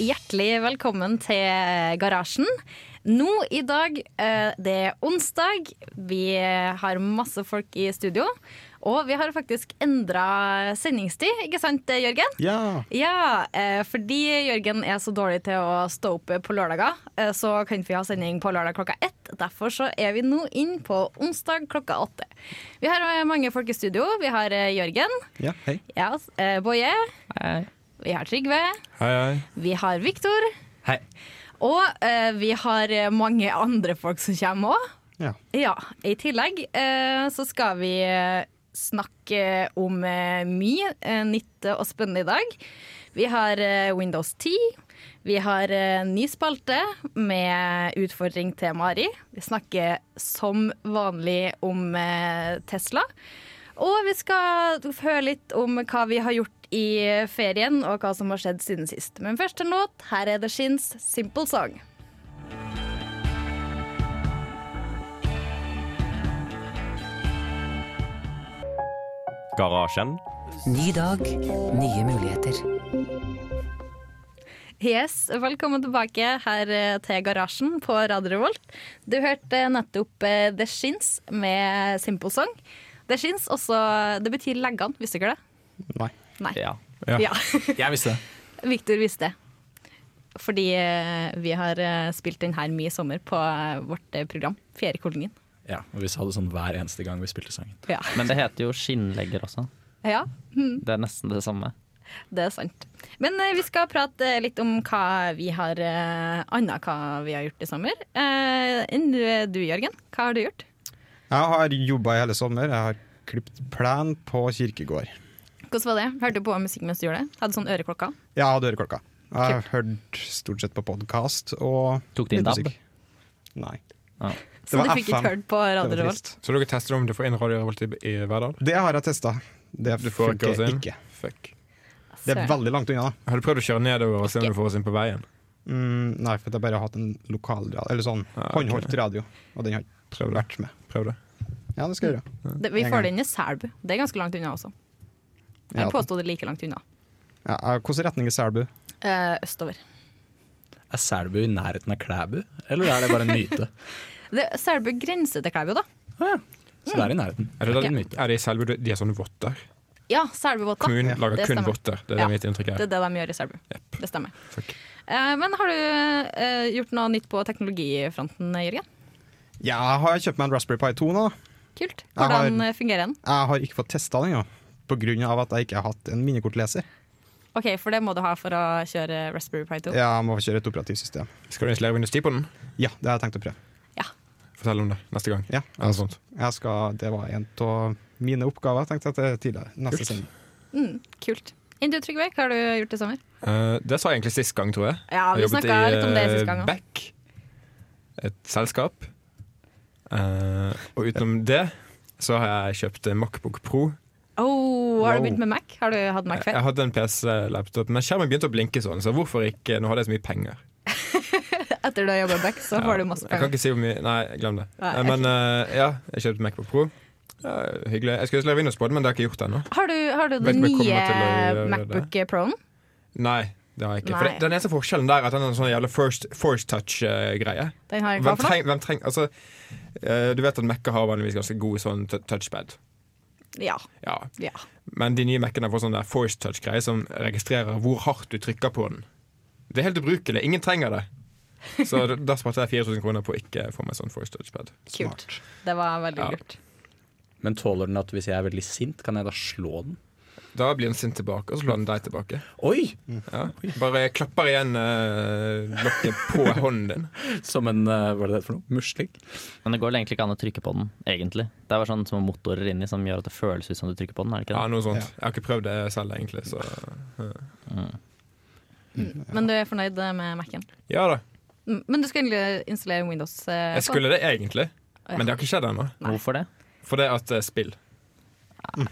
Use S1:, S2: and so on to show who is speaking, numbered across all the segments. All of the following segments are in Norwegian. S1: hjertelig velkommen til Garasjen. Nå i dag, eh, det er onsdag, vi har masse folk i studio. Og vi har faktisk endra sendingstid, ikke sant Jørgen?
S2: Ja.
S1: Ja, eh, fordi Jørgen er så dårlig til å stå opp på lørdager, eh, så kan vi ha sending på lørdag klokka ett. Derfor så er vi nå inn på onsdag klokka åtte. Vi har eh, mange folk i studio. Vi har eh, Jørgen,
S2: ja. Hei.
S1: ja, eh, Boje, vi har Trygve,
S3: Hei, hei.
S1: vi har Viktor,
S4: Hei.
S1: og eh, vi har eh, mange andre folk som kommer òg.
S2: Ja.
S1: Ja, i tillegg eh, så skal vi eh, snakke om eh, mye eh, nytt og spennende i dag. Vi har eh, Windows 10. Vi har eh, ny spalte med utfordring til Mari. Vi snakker som vanlig om eh, Tesla. Og vi skal høre litt om hva vi har gjort i ferien, og hva som har skjedd siden sist. Men først en låt. Her er The Shins 'Simple Song'.
S3: Garasjen.
S5: Ny dag, nye muligheter.
S1: Yes, Velkommen tilbake her eh, til garasjen på Radio Revolt. Du hørte nettopp eh, The Shins med Simple Song. The Shins også, det betyr leggene, visste dere det?
S2: Nei.
S1: Nei.
S4: Ja.
S1: Ja.
S4: Jeg visste det.
S1: Victor visste det. Fordi eh, vi har eh, spilt den her mye i sommer på eh, vårt eh, program, Fjerdekolonien.
S4: Ja, og Vi sa det sånn hver eneste gang vi spilte sangen.
S1: Ja.
S6: Men det heter jo skinnlegger også.
S1: ja,
S6: Det er nesten det samme.
S1: det er sant. Men eh, vi skal prate litt om hva vi har eh, annet hva vi har gjort i sommer. Eh, enn du, du, Jørgen, hva har du gjort?
S2: Jeg har jobba i hele sommer. Jeg har klipt plen på kirkegård.
S1: Hvordan var det? Hørte du på musikk mens du gjorde det? Hadde sånn øreklokka?
S2: Jeg hadde øreklokka. Jeg har hørt stort sett på podkast og
S6: Tok du
S2: litt
S6: inn DAB?
S2: musikk. Nei.
S6: Ja.
S1: Så
S2: var
S1: Sånn du fikk ikke
S2: FM.
S1: hørt på
S2: Det
S1: Radio
S2: var
S1: Revolt?
S2: trist.
S3: Så dere tester om du får inn Radio Revolt i i Verdal?
S2: Det har jeg testa. Det
S3: Du får ikke
S2: funker
S3: oss inn?
S2: ikke.
S3: Fuck.
S2: Det er
S1: Søren.
S2: veldig langt unna. da.
S3: Har du prøvd å kjøre nedover og se om du får oss inn på veien?
S2: Mm, nei, for jeg har bare hatt en lokalradio, eller sånn
S3: Ah, ok.
S2: håndholdt radio, og den har ikke
S3: Prøv det.
S2: vært med.
S3: Prøv det.
S2: Ja, det skal jeg gjøre.
S1: Det, vi
S2: En
S1: får
S2: gang.
S1: det inn i Selbu. Det er ganske langt unna også.
S2: Ja.
S1: Jeg påstod det er like langt unna.
S2: Ja, Hvilken retning er Selbu?
S1: Eh, østover.
S4: Er Selbu i nærheten av Klæbu, eller er det bare en myte?
S1: Det, Selbu grenser til Klæbu, da.
S4: Ah, Så det er i nærheten.
S3: Er det,
S1: Ok.
S3: den, er det i Selbu de er sånne votter?
S1: Ja, Selbuvåta.
S3: Kommunen lager
S1: det
S3: kun
S1: stemmer.
S3: votter. Det er
S1: Ja.
S3: det mitt inntrykk
S1: Det
S3: er.
S1: er det de gjør i Selbu. Det stemmer.
S3: Fuck.
S1: Eh, men har du eh, gjort noe nytt på teknologifronten, Jørgen?
S2: Ja, har jeg kjøpt meg en Raspberry Pi 2 nå? da?
S1: Kult.
S2: Jeg har-
S1: Hvordan eh, fungerer den?
S2: Jeg har ikke fått testa den ennå, pga. at jeg ikke har hatt en minnekortleser.
S1: OK, for det må du ha for å kjøre Raspberry Pi 2. Ja.
S2: Jeg må kjøre et operativsystem.
S3: Skal du installere Windows 10 på den?
S2: Ja, det har jeg tenkt å prøve.
S3: Fortell om det neste gang.
S2: Ja.
S3: Eller noe sånt.
S2: Jeg skal, det var en av mine oppgaver tenkte jeg til tidligere. Neste
S3: Kult.
S2: sending.
S1: Mm, kult. Enn du, Trygve, hva har du gjort i sommer?
S3: Eh, det sa jeg egentlig sist gang, tror jeg.
S1: Ja, vi
S3: Jeg jobbet
S1: snakka
S3: i,
S1: litt om det
S3: eh,
S1: sist gang òg.
S3: Beck, et selskap. Eh, og utenom det så har jeg kjøpt eh, Macbook Pro.
S1: Oh, har du
S2: Wow.
S1: begynt med Mac? Har du hatt Mac
S3: Jeg,
S1: før?
S3: jeg hadde en PC-laptop, men skjermen begynte å blinke sånn, så hvorfor ikke? Nå hadde jeg så mye penger.
S1: Etter du har jobba back, så får du masse
S3: Jeg kan
S1: penger.
S3: ikke si hvor mye Nei, glem det.
S1: Nei,
S3: Eh, men eh, ja, jeg kjøpte Macbook Pro. Eh, hyggelig. Jeg skulle installere Windows på den, men det har jeg ikke gjort ennå.
S1: Har du, har du
S3: Vet
S1: den
S3: ikke om jeg
S1: nye
S3: kommer til å gjøre det.
S1: Macbook Pro-en?
S3: Nei, det har jeg ikke. For
S1: Nei.
S3: det, Den eneste forskjellen der er at den er en sånn jævla first, force touch-greie.
S1: Den har hva
S3: Hvem
S1: for noe?
S3: trenger treng, altså, eh, Du vet at Mac-er har vanligvis ganske god sånn t- touchpad.
S1: Ja.
S3: Ja.
S1: ja.
S3: Men de nye Mac-ene får sånn der force touch-greie som registrerer hvor hardt du trykker på den. Det er helt ubrukelig. Ingen trenger det. Så d- da sparte jeg 4000 kroner på å ikke få meg sånn force touchpad.
S1: Kult. Det var veldig
S3: Ja.
S1: lurt.
S4: Men tåler den at hvis jeg er veldig sint, kan jeg da slå den?
S3: Da blir den sint tilbake, og så slår den deg tilbake.
S4: Oi!
S3: Ja. Bare klapper igjen eh, lokket på hånden din.
S4: Som en eh, Hva er det det heter for noe? Musling?
S6: Men det går egentlig ikke an å trykke på den, egentlig. Det er bare sånne små motorer inni som gjør at det føles ut som du trykker på den, er det ikke
S3: Ja,
S6: det?
S3: noe sånt. Jeg har ikke prøvd det selv, egentlig. Så
S6: Mm.
S3: Mm.
S1: Mm. Men du er fornøyd med Mac-en?
S3: ja da.
S1: Mm, Men du skal egentlig installere Windows? eh,
S3: Jeg
S1: på
S3: skulle det egentlig,
S1: den?
S3: men det har ikke skjedd ennå.
S1: Nei.
S6: Hvorfor det?
S3: For det at det er spill.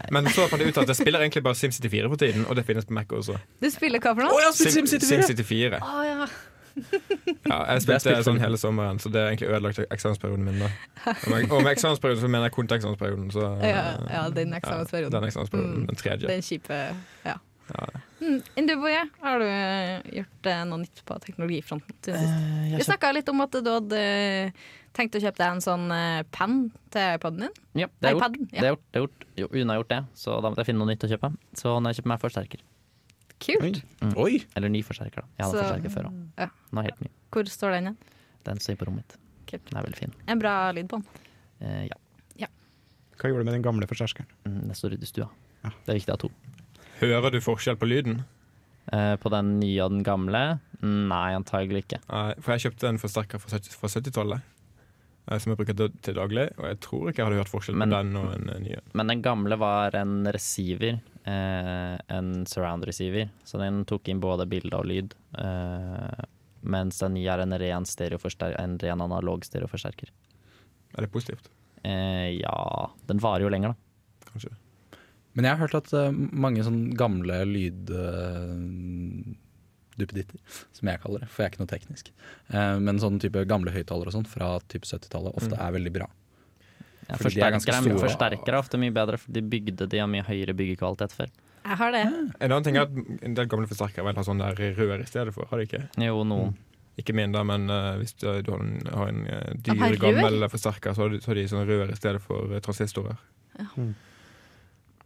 S3: Men så fant jeg ut at jeg spiller egentlig bare SimCity 4 for tiden, og det finnes på Mac også.
S1: Du spiller hva for
S4: Å,
S1: noe?
S4: jeg har spilt
S3: Sim-
S4: SimCity 4!
S3: SimCity 4.
S1: Å ja.
S3: Ja, jeg
S4: Det er
S3: spilte
S4: spilt
S3: sånn
S4: for-
S3: hele sommeren, så det har egentlig ødelagt eksamensperioden min. da Og med- Og med eksamensperioden så mener jeg konteksamensperioden. Så, eh,
S1: Ja, ja, den eksamensperioden.
S3: Ja, den eksamensperioden,
S1: Mm.
S3: den tredje.
S1: Den kjipe Ja. Mm. Enn du, Boje, har du eh, gjort eh, noe nytt på teknologifronten siden sist? Vi
S6: Jeg
S1: snakka litt om at du hadde eh, tenkt å kjøpe deg en sånn eh, pen til iPaden din.
S6: Ja, det er gjort.
S1: iPaden, ja.
S6: Det er gjort, det er gjort. Jo, Una har gjort det, så da måtte jeg finne noe nytt å kjøpe. Så nå har jeg kjøpt meg forsterker.
S1: Kult.
S4: Oi!
S6: Eller ny forsterker, da. Jeg hadde
S1: Så-
S6: forsterker før òg.
S1: ja.
S6: Nå er helt ny.
S1: Hvor står den igjen?
S6: Den står på rommet mitt.
S1: Kult.
S6: Den er veldig fin.
S1: En bra lyd på den.
S6: Eh, ja.
S2: Hva gjorde du med den gamle forsterkeren?
S6: Mm, Den står ute i stua. Det er viktig å ha to.
S3: Hører du forskjell på lyden?
S6: Eh, på den nye og den gamle? Nei, antagelig ikke.
S3: Nei, for jeg kjøpte en forsterker fra 70 fra 70-tallet. eh, Som jeg bruker til til daglig, og jeg tror ikke jeg hadde hørt forskjell
S6: Men-
S3: på den og en eh, ny en.
S6: Men den gamle var en receiver. Eh, en surround receiver. Så den tok inn både bilde og lyd. Eh, mens den nye er en ren, stereoforster- en ren analog stereoforsterker.
S3: Er det positivt?
S6: Eh, ja Den varer jo lenger, da.
S3: Kanskje.
S4: Men jeg har hørt at eh, mange sånn gamle lydduppeditter, som jeg kaller det, for jeg er ikke noe teknisk, eh, men sånn type gamle høyttalere og sånn fra type 70-tallet ofte er veldig bra.
S6: Ja,
S4: Fordi de er ganske
S6: forsterkere, er mye-
S4: store.
S6: forsterkere er ofte mye bedre, for de bygde de har mye høyere byggekvalitet før.
S1: Jeg har det.
S3: En annen ting er at en del gamle forsterkere vel har sånn der rør i stedet for. Har de ikke?
S6: Jo, noen.
S3: Ikke min, da, men eh, hvis du, du har en, har en eh,
S1: De har
S3: dyr,
S1: rør?
S3: gammel forsterker, så har de, så har de sånn rør i stedet for eh, transistorer.
S2: Og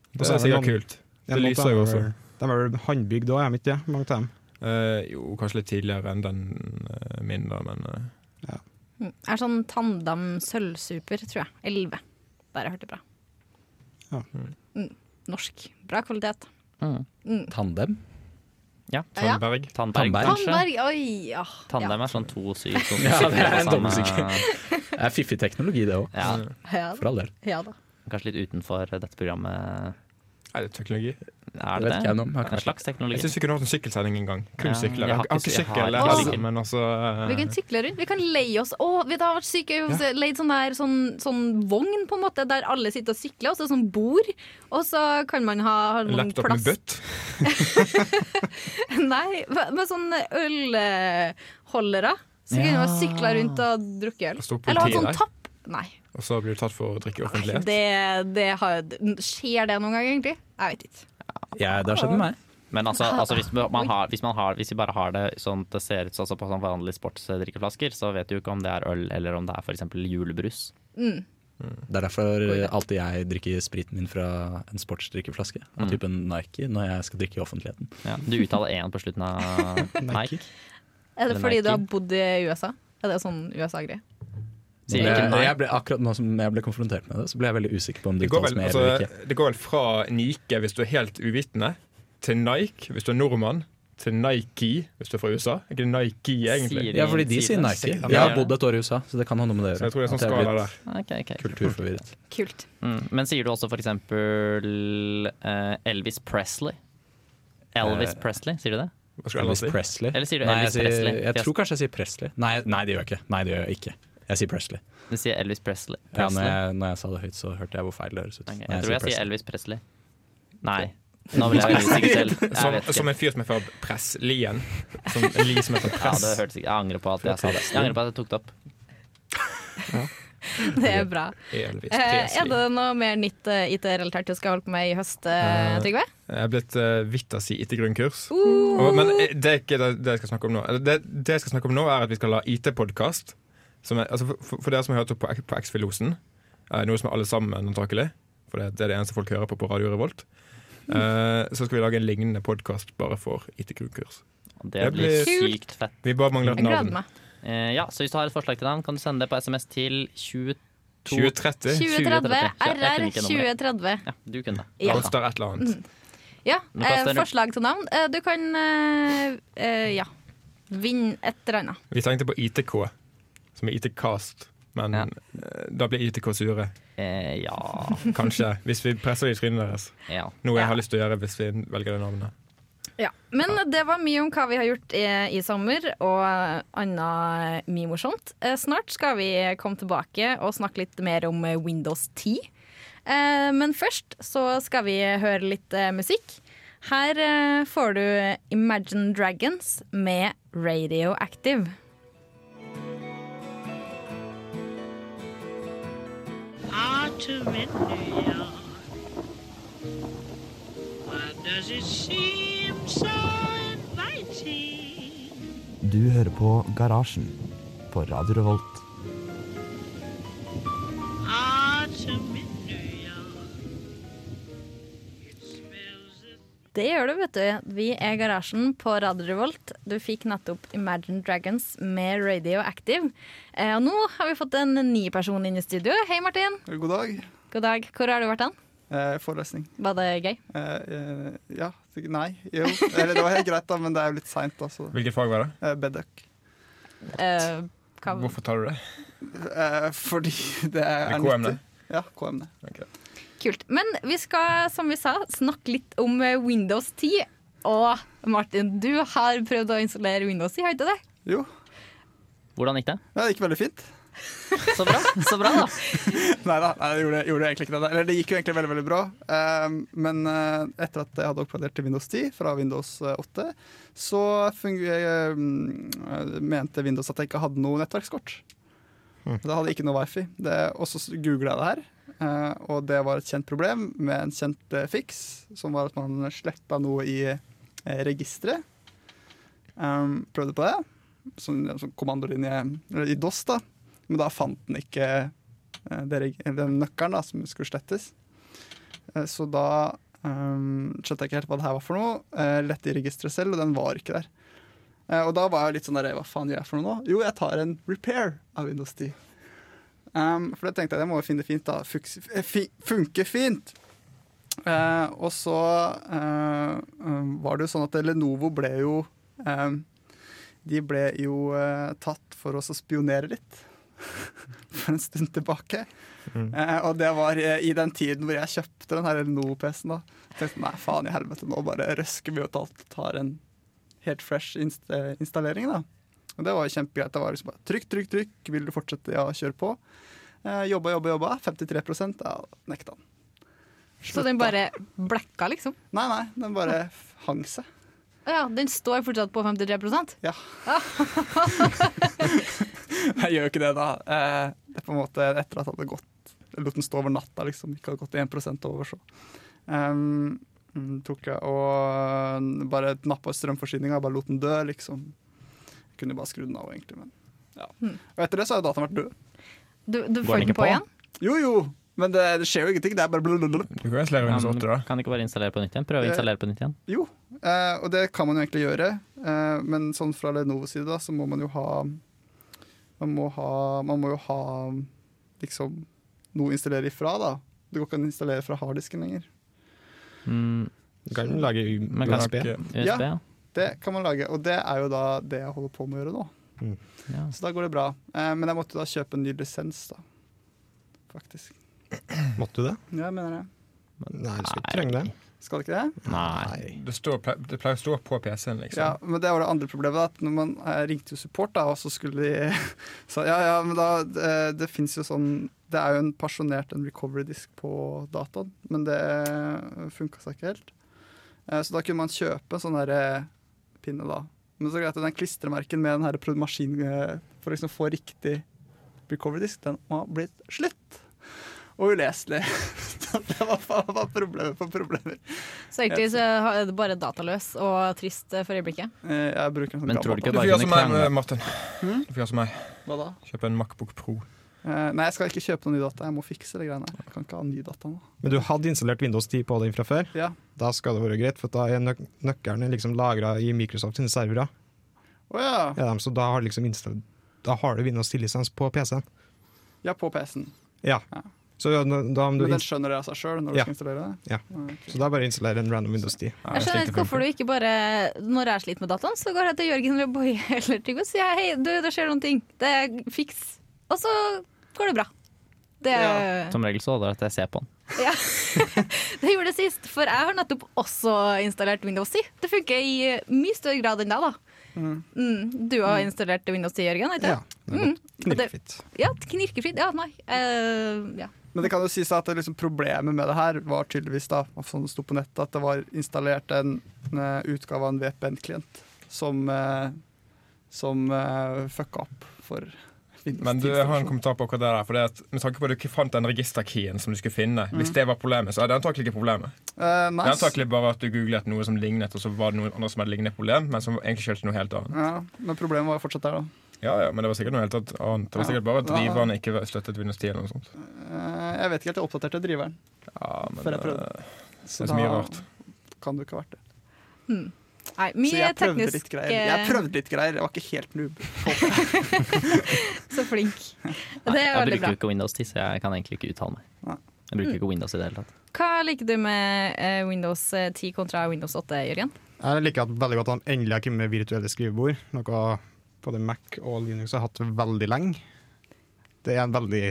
S3: Det
S2: Mm. så
S3: er
S2: er det
S3: sikkert
S2: noen-
S3: kult. Det lyser jo også.
S2: De er vel håndbygd òg, er de ikke det? Mange av dem.
S3: Eh, jo, kanskje litt tidligere enn den eh, min, da, men eh,
S1: Mm. Jeg har sånn Tandem sølvsuper, tror jeg. 11. Der har jeg hørt det bra.
S2: Ja.
S1: Mm. Norsk. Bra kvalitet.
S6: Mm.
S4: Tandem?
S6: Ja.
S1: Ja.
S3: Tandberg.
S6: Tandberg,
S4: Tandberg.
S6: kanskje.
S1: Tandberg, oi! Ja.
S6: Tandem er sånn to syv som
S4: Ja, det er en
S6: som-
S4: dobbeltsikker. Det er fiffig teknologi, det òg.
S6: Ja,
S1: Ja.
S4: For all del.
S1: ja da.
S6: kanskje litt utenfor dette programmet.
S3: Er det teknologi?
S6: Er det
S4: Det vet ikke jeg
S6: det?
S4: noe
S6: En
S4: om. Jeg har ikke vært
S6: slags teknologi.
S3: Jeg syns vi kunne hatt en sykkelsending en gang. Kun
S6: Ja,
S3: sykler.
S6: jeg
S3: Jeg
S6: har
S3: har ikke
S6: ikke- jeg har
S3: sykkel, jeg
S6: ikke
S3: heller,
S6: sykkel.
S3: men altså
S1: Vi kan sykle rundt. Vi kan leie oss. Å, det har vært sykt gøy. Ja. Leid sånn, der, sånn, sånn vogn, på en måte, der alle sitter og sykler, og så sånn bord. Og så kan man ha, ha
S3: En
S1: noen
S3: laptop med bøtt.
S1: Nei, med med sånne ølholdere. Så kunne man sykla rundt og drukket
S3: Ah. Og stå
S1: øl.
S3: på
S1: Eller ha
S3: politiet
S1: sånn
S3: der.
S1: tapp. Nei.
S3: Og så blir du tatt for å drikke i
S1: Nei,
S3: offentlighet.
S1: det, det har, skjer det noen gang, egentlig? Jeg vet ikke.
S4: Ja, det har skjedd med meg.
S6: Men altså, altså hvis, man har, hvis, man har, hvis vi bare har det sånn at det ser ut som altså på sånn vanlige sportsdrikkeflasker, så vet du jo ikke om det er øl eller om det er f.eks. julebrus.
S4: Det er derfor eh, alltid jeg drikker spriten min fra en sportsdrikkeflaske
S6: Mm.
S4: av typen Nike når jeg skal drikke i offentligheten.
S6: Ja, du uttaler én på slutten av Nike.
S1: Er det
S6: Eller
S1: fordi
S6: Nike.
S1: du har bodd i USA? Er det sånn USA-greie?
S6: Sier
S4: Men
S6: ikke
S4: jeg-
S6: nei.
S4: jeg ble, akkurat nå som jeg ble konfrontert med det, så ble jeg veldig usikker på om det
S3: Det går,
S4: uttales
S3: vel,
S4: med eller ikke.
S3: altså, det går vel fra Nike hvis du er helt uvitende, til Nike hvis du er nordmann, til Nike hvis du er fra USA. Er ikke det Nike, egentlig?
S6: Sier-
S4: Ja, fordi de
S6: Sier
S4: sier
S6: det.
S4: Nike.
S6: Sier det.
S4: Jeg har bodd et år i USA, så det kan ha noe med det å gjøre.
S3: Så jeg tror det er sånn
S4: At jeg har
S3: skala
S4: blitt
S3: der.
S6: Ok, ok.
S4: Kulturforvirret.
S1: Kult.
S6: Mm. Men sier du også f.eks. Uh, Elvis Presley? Elvis
S4: Eh,
S6: Presley, sier du det?
S3: Hva skal jeg ellers
S4: Elvis
S3: si?
S4: Presley.
S6: Eller sier du
S4: Nei,
S6: Elvis
S4: jeg, sier,
S6: Presley?
S4: jeg tror kanskje jeg sier Presley. Nei, nei, det gjør jeg ikke. Nei, det gjør jeg ikke. Jeg sier Presley.
S6: Du sier Elvis Presley.
S4: Ja, når,
S6: Presley.
S4: jeg, når jeg sa det høyt, så hørte jeg hvor feil det høres ut.
S6: Ok,
S4: Når
S6: jeg tror jeg sier
S4: Presley.
S6: Elvis Presley. Nei. Nå ble jeg usikker selv. Jeg
S3: Som,
S6: vet ikke.
S3: som en fyr som er fra Press-Lien. Som en li som er fra
S6: Ja,
S3: Press.
S6: det hørtes ikke Jeg angrer på at jeg sa det. Jeg angrer på at jeg tok det opp.
S1: Det er bra.
S3: Elvis
S1: Eh, er det
S3: Presley.
S1: noe mer nytt eh, IT-relatert du skal holde på med i høst, eh,
S3: Eh,
S1: Trygve?
S3: Jeg er blitt uh, Vitasi etter grunnkurs.
S1: Uh,
S3: Og, men eh, det er ikke det, det jeg skal snakke om nå. Eller Det, det jeg skal snakke om nå er at vi skal ha IT-podkast. Altså for, for- for dere som har hørt på, på X-Filosen, eh, noe som er alle sammen antakelig, for det, det er det eneste folk hører på på Radio Revolt, eh, så skal vi lage en lignende podkast bare for IT-grunnkurs.
S6: Det
S3: Det
S6: blir
S1: blir-
S6: sykt fett.
S3: Vi bare mangler et
S1: jeg gleder
S3: navn.
S1: meg.
S6: Eh, ja, så hvis du har et forslag til navn, kan du sende det på SMS til 20...
S3: 2030
S1: 2030
S6: Ja,
S1: RR
S6: jeg kunne ikke nummeret.
S1: 2030.
S6: Ja, du kunne det.
S1: Ja. Mm.
S3: koster et eller annet.
S1: Ja,
S6: Nå kaster jeg
S1: eh,
S6: en-
S1: forslag til navn. Eh, du kan eh, eh, ja. Vinne et eller annet.
S3: Vi tenkte på ITK, som er IT-cast, men
S6: Ja.
S3: eh, da blir ITK sure.
S6: Eh, ja.
S3: Kanskje. Hvis vi presser det i trynet deres.
S6: ja.
S3: Noe jeg
S1: Ja.
S3: har lyst til å gjøre hvis vi velger det navnet.
S1: Ja. Men det var mye om hva vi har gjort i, i sommer, og annet mye morsomt. Eh, snart skal vi komme tilbake og snakke litt mer om eh, Windows 10. Eh, men først så skal vi høre litt eh, musikk. Her eh, får du Imagine Dragons med Radioactive.
S7: are to India. And Cause it seems so inviting.
S8: Du hører på Garasjen på Radio Revolt.
S7: Autumn in New York. It smells of
S1: Det gjør du, vet du. Vi er Garasjen på Radio Revolt. Du fikk nettopp Imagine Dragons med Radioactive. Eh, og nå har vi fått en ny person inn i studio. Hei, Martin.
S9: God dag.
S1: God dag. Hvor har du vært hen?
S9: Eh, forelesning.
S1: Var det gøy?
S9: Eh, eh, ja. sikkert- Nei. Jo. Eller det var helt greit, da, men det er jo litt seint, da. så
S3: Hvilket fag var det?
S9: eh, Bedøk.
S1: Eh, hva,
S3: Hvorfor tar du det?
S9: Eh, fordi det er,
S3: Det er KM, det.
S9: Ja, KM, det.
S1: kult. Men vi skal, som vi sa, snakke litt om eh, Windows 10. Og Martin, du har prøvd å installere Windows 10, har du ikke det?
S9: Jo.
S6: Hvordan gikk det?
S9: Ja, det gikk veldig fint.
S6: Så bra, så bra da.
S9: Nei da, nei, det gjorde, gjorde egentlig ikke det. Eller det gikk jo egentlig veldig veldig bra. Ehm, men eh, etter at jeg hadde oppgradert til Windows 10 fra Windows 8, så fungu- eh, mm, mente Windows at jeg ikke hadde noe nettverkskort. Da hadde jeg ikke noe wifi. Det, og så googla jeg det her, eh, og det var et kjent problem med en kjent eh, fiks, som var at man sletta noe i eh, registeret. Ehm, prøvde på det, som, som kommandolinje eller i DOS, da. Men da fant den ikke eh, det reg- eller den nøkkelen da, som skulle slettes. Eh, Så da um, skjønte jeg ikke helt hva det her var for noe. Eh, Lette i registeret selv, og den var ikke der. Eh, Og da var jeg litt sånn der, hva faen gjør jeg for noe nå? Jo, jeg tar en repair av Windows 10. Um, for det tenkte jeg, det må jo finne fint da. Fuks- eh, fi- Funke fint! Eh, og så eh, um, var det jo sånn at Lenovo ble jo eh, De ble jo eh, tatt for oss å spionere litt for en stund tilbake. Eh, og det var eh, i den tiden hvor jeg kjøpte den her Lenovo-PC-en. da. tenkte nei, faen i helvete, nå bare røsker vi ut alt og tar en helt fresh inst eh, installering. da. Og det var jo kjempegreit. Det var liksom bare trykk, trykk, trykk. Vil du fortsette? Ja, kjør på. Eh, jobba, jobba, jobba. 53 ja, nekta han.
S1: Så den bare blekka, liksom?
S9: Nei, nei, den bare f- hang seg.
S1: Å Ja, Den står fortsatt på 53
S9: Ja. jeg gjør jo ikke det, da. Eh, det er på en måte etter at jeg hadde gått Jeg lot den stå over natta, liksom. Ikke hadde gått 1 over, så. Ehm, mm, tok jeg og eh, bare nappa strømforsyninga, bare lot den dø, liksom. Jeg kunne bare skru den av, egentlig, men ja. Og etter det så har jo dataen vært død.
S1: Du, du får
S6: Går den
S1: den
S6: ikke
S1: på
S6: på?
S1: igjen?
S9: Jo, jo! Men det, det skjer jo ingenting. Det er bare blablabla.
S3: Du kan jo installere
S6: Ja,
S3: Windows
S6: men
S3: 8, da.
S6: Um, Kan du ikke bare installere på nytt igjen? Prøve å installere på nytt igjen.
S9: Jo, eh, og det kan man jo egentlig gjøre. Eh, men sånn fra Lenovos side da, så må man jo ha Man må, ha, man må jo ha liksom noe å installere ifra, da. Det går ikke an å installere fra harddisken lenger.
S6: Mm,
S2: Du kan lage
S6: Men kan-
S2: USB.
S6: USB, ja.
S9: Det kan man lage, og det er jo da det jeg holder på med å gjøre nå.
S6: ja.
S9: Så da går det bra. Eh, men jeg måtte da kjøpe en ny lisens, da. Faktisk.
S2: Måtte du det?
S9: Ja, jeg mener det.
S2: Nei, du skal ikke trenge det.
S9: Skal det ikke det?
S6: Nei.
S3: Det, står, ple- det pleier å stå på PC-en, liksom.
S9: Ja, men det var det andre problemet. da, At når man eh, ringte jo support, da, og så skulle de sa, Ja, ja, men da eh, Det fins jo sånn Det er jo en pensjonert en recovery-disk på dataen, men det funka seg ikke helt. Eh, Så da kunne man kjøpe en sånn her eh, pinne, da. Men så er det greit at den klistremerken med den her pro- maskinen eh, for å liksom få riktig recovery-disk, den har blitt slutt. Og uleselig. Så det var, faen meg problemer på problemer.
S1: Så egentlig så er det bare dataløs og trist eh, for øyeblikket.
S9: Eh, Jeg bruker en sånn
S6: Men tror du ikke
S9: gammel
S3: Du
S6: bare
S3: får gjøre
S6: kunne
S3: som meg,
S6: krangle?
S3: Martin.
S6: Hmm?
S3: Du får gjøre som meg.
S9: Hva da?
S3: Kjøpe en Macbook Pro.
S9: Eh, nei, jeg skal ikke kjøpe noen ny data. Jeg må fikse det greiene her. Jeg kan ikke ha ny data nå.
S2: Men du hadde installert Windows 10 på den fra før.
S9: Ja.
S2: Da skal det være greit, for da er nøk nøkkelen liksom lagra i Microsoft sine servere.
S9: Å ja.
S2: Er de, så da har, liksom install- da har du Windows 10-lisens på PC-en.
S9: ja, på PC-en.
S2: Ja.
S9: Ja.
S2: Så da, da om du
S9: Men den
S2: inst-
S9: skjønner det av seg sjøl når du
S2: Ja.
S9: skal installere det?
S2: ja. Så da bare installere en random Windows 10.
S3: Ja,
S1: Jeg skjønner
S3: slik det
S1: ikke hvorfor
S3: funker.
S1: du ikke bare Når jeg sliter med dataen, så går jeg til Jørgen eller Boje eller Trygve og sier hei, du, det skjer noen ting. Det er fiks. Og så går det bra. Det,
S9: Ja.
S6: Som regel så holder det at jeg ser på den.
S1: ja. det gjorde det sist, for jeg har nettopp også installert Windows 10. Det funker i mye større grad enn deg, da. Mm. Du har installert Windows 10, Jørgen? har ikke
S2: Ja,
S1: det?
S2: det er
S1: Mm.
S2: godt.
S1: Og det-
S2: Knirkefritt.
S1: Ja, knirkefritt. Ja, nei. Eh, ja.
S9: Men det kan jo sies at det liksom problemet med det her var tydeligvis da, sånn det sto på nettet, at det var installert en, eh, utgave av en VPN-klient som, eh, som eh, fucka opp for
S3: Men du jeg har en kommentar på akkurat det der. For det at, med tanke på at du ikke fant den registerkeyen som du skulle finne,
S6: Hmm.
S3: hvis det var problemet, så er det antakelig ikke problemet.
S9: Eh,
S3: Det er
S9: nice.
S3: antakelig bare at du googlet noe som lignet, og så var det noen andre som hadde lignende problem, men som egentlig skyldtes noe helt annet.
S9: Ja, men problemet var jo fortsatt der, da.
S3: Ja, ja, men det var sikkert noe helt annet. Det var sikkert bare at driverne ikke støttet Windows 10 eller noe sånt.
S9: Eh, jeg vet ikke helt, jeg oppdaterte driveren.
S3: Ja, men
S9: For jeg prøvde.
S3: eh, det
S9: Så
S3: er så mye
S9: da
S3: rart.
S9: kan du ikke ha vært det.
S1: Nei,
S9: Så
S1: mye
S9: jeg prøvde
S1: teknisk eh,
S9: litt greier. Jeg prøvde litt greier, jeg var ikke helt noob.
S1: Så flink. Det
S6: Nei,
S1: er
S6: jeg
S1: veldig
S6: bruker
S1: bra.
S6: jo ikke Windows 10, så jeg kan egentlig ikke uttale
S9: Nei.
S6: meg. Jeg bruker ikke Windows i det hele tatt.
S1: Hva liker du med eh, Windows 10 kontra Windows 8, Jørgen?
S2: Jeg liker at veldig godt at de endelig har kommet med virtuelle skrivebord. Noe både Mac og Linux har hatt veldig lenge. Det er en veldig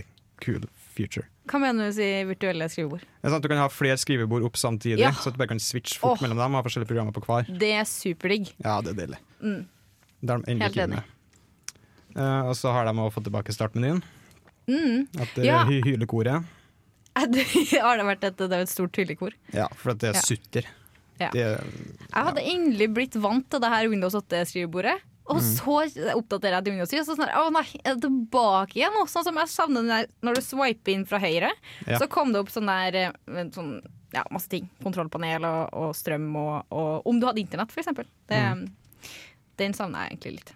S2: kul feature.
S1: Hva mener du sier virtuelle skrivebord?
S2: Det er sant, Du kan ha flere skrivebord opp samtidig,
S1: Ja.
S2: så at du bare kan switche fort
S1: Åh.
S2: mellom dem. og Ha forskjellige programmer på hver.
S1: Det er superdigg.
S2: Ja, det er deilig.
S1: Mm.
S2: Det har de endelig
S1: Helt
S2: kommet
S1: enig.
S2: med. Eh, og så har de også fått tilbake startmenyen.
S1: Mm.
S2: At det
S1: Ja.
S2: hy- hylekoret.
S1: Har det vært et, det er jo et stort hyllekor.
S2: Ja, for at det er
S1: Ja.
S2: sutter.
S1: Ja.
S2: Det er
S1: Jeg hadde endelig blitt vant til det her Windows 8-skrivebordet.
S2: Mm.
S1: Og så oppdaterer jeg til Windows 10, og så sånn her, å nei, er det tilbake igjen nå? Sånn som jeg savner den der, når du swiper inn fra høyre,
S2: Ja.
S1: så kom det opp sånn der eh, en sånn, ja, masse ting. Kontrollpanel og, og strøm og, og Om du hadde internett, for eksempel. Det,
S2: Mm.
S1: Den savner jeg egentlig litt.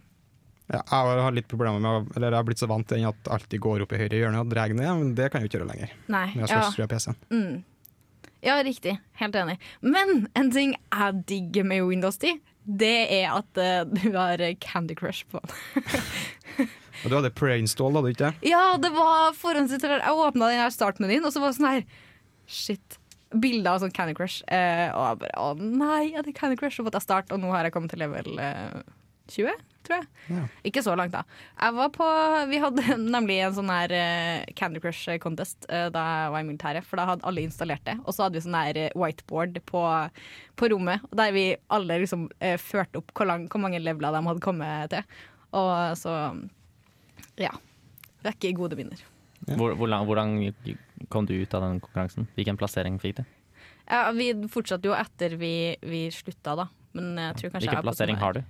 S2: Ja, jeg har litt problemer med å- Eller jeg har blitt så vant til den at alltid går opp i høyre hjørne og drar ned, men det kan jeg jo ikke gjøre lenger.
S1: Nei,
S2: Når jeg
S1: ja.
S2: skal skru av PC-en.
S1: Mm. Ja, riktig. Helt enig. Men en ting jeg digger med Windows 10, det er at eh, du har Candy Crush på den.
S2: Og du hadde preinstall, hadde du ikke det?
S1: Ja, det var forhåndsinstallert. Jeg åpna den her startmenyen, og så var det sånn her Shit. Bilder av sånn Candy Crush. Eh, og jeg bare Å nei, er det Candy Crush? Så måtte jeg starte, og nå har jeg kommet til level eh, 20, tror jeg.
S2: Ja.
S1: Ikke så langt, da. Jeg var på Vi hadde nemlig en sånn her eh, Candy Crush contest eh, da jeg var i militæret, for da hadde alle installert det. Og så hadde vi sånn her eh, whiteboard på, på rommet, der vi alle liksom eh, førte opp hvor, lang, hvor mange leveler de hadde kommet til. Og så Ja. Vekker gode minner.
S6: Hvor, hvor lang, hvordan kom du ut av den konkurransen? Hvilken plassering fikk du?
S1: Ja, vi fortsatte jo etter vi, vi slutta, da. Men jeg tror kanskje
S6: Hvilken plassering har du?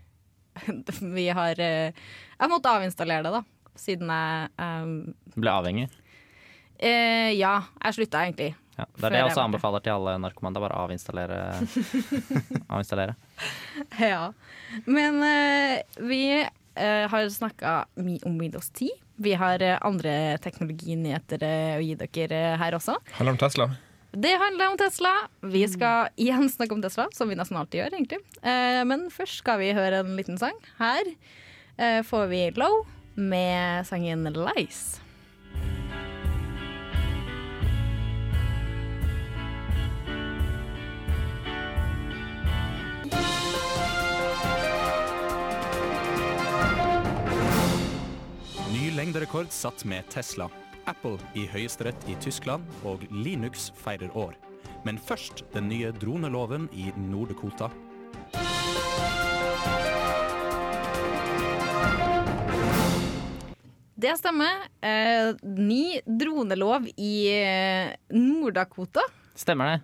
S1: du? vi har eh, Jeg måtte avinstallere det, da. Siden jeg ehm,
S6: Du ble avhengig?
S1: eh, Ja, jeg slutta egentlig.
S6: Ja. Det
S1: Før
S6: er
S1: jeg
S6: det jeg også
S1: var det.
S6: anbefaler til alle narkomane. det er Bare å avinstallere. avinstallere.
S1: Ja. Men eh, vi eh, har snakka mye om Windows 10. Vi har eh, andre teknologinyheter eh, å gi dere eh, her også.
S3: Handler om Tesla.
S1: Det handler om Tesla. Vi skal igjen snakke om Tesla, som vi nesten alltid gjør, egentlig. Eh, Men først skal vi høre en liten sang. Her eh, får vi Low med sangen Lies.
S4: Ny lengderekord satt med Tesla. Apple i høyesterett i Tyskland, og Linux feirer år. Men først den nye droneloven i Nord-Dakota.
S1: Det stemmer. Eh, Ny dronelov i eh, Nord-Dakota.
S6: Stemmer det?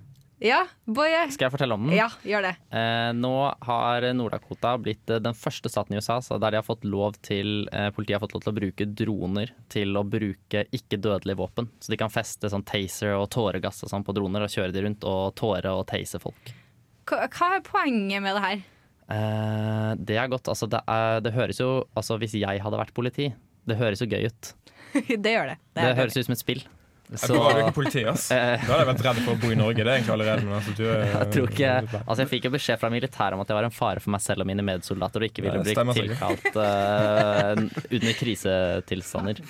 S1: Ja, Boje.
S6: Skal jeg fortelle om den?
S1: Ja, gjør det.
S6: Eh, nå har Nord-Dakota blitt eh, den første staten i USA så der de har fått lov til, eh, politiet har fått lov til å bruke droner til å bruke ikke-dødelige våpen. Så de kan feste sånn taser og tåregass og sånn på droner og kjøre de rundt og tåre og tase folk.
S1: Hva hva er poenget med det her?
S6: Eh, det er godt. Altså, det, er, det høres jo Altså, hvis jeg hadde vært politi, det høres jo gøy ut.
S1: Det gjør det.
S6: Det, høres ut som et spill.
S3: Jeg bare ikke politi, ass. Da
S6: Eh.
S3: hadde jeg vært redd for å bo i Norge. Det er egentlig allerede men altså, du er,
S6: Jeg tror ikke
S3: Eh,
S6: Altså jeg fikk jo beskjed fra militæret om at jeg var en fare for meg selv og mine medsoldater og ikke ville
S3: Det
S6: bli
S3: stemmer sikkert.
S6: tilkalt eh, under krisetilstander.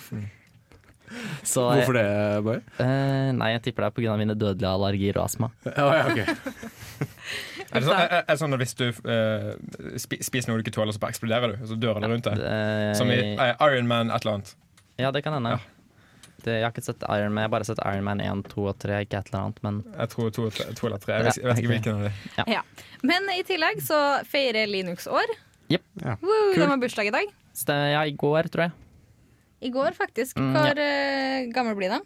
S6: Så
S4: Hvorfor det, Boje?
S6: eh, nei, jeg tipper det er pga. mine dødelige allergier og astma.
S3: Er det sånn, er, er det sånn at hvis du eh, spi, spiser noe du ikke tåler, så bare eksploderer du? Og så dør alle rundt deg?
S6: Eh,
S3: Som i eh, Iron Man et eller annet.
S6: ja, det kan hende. Det, jeg har ikke sett Iron Man, jeg har bare sett Iron Man 1, 2 og 3, ikke et eller annet, men
S3: Jeg tror to, to, to eller tre. Jeg vet, jeg vet ikke hvilken av de.
S1: Ja. Men i tillegg så feirer Linux år.
S6: Jepp.
S2: Ja.
S1: Woo, de har bursdag i dag.
S6: Ste- ja, i går, tror jeg.
S1: I går, faktisk.
S6: Mm,
S1: Hvor eh, gammel blir de?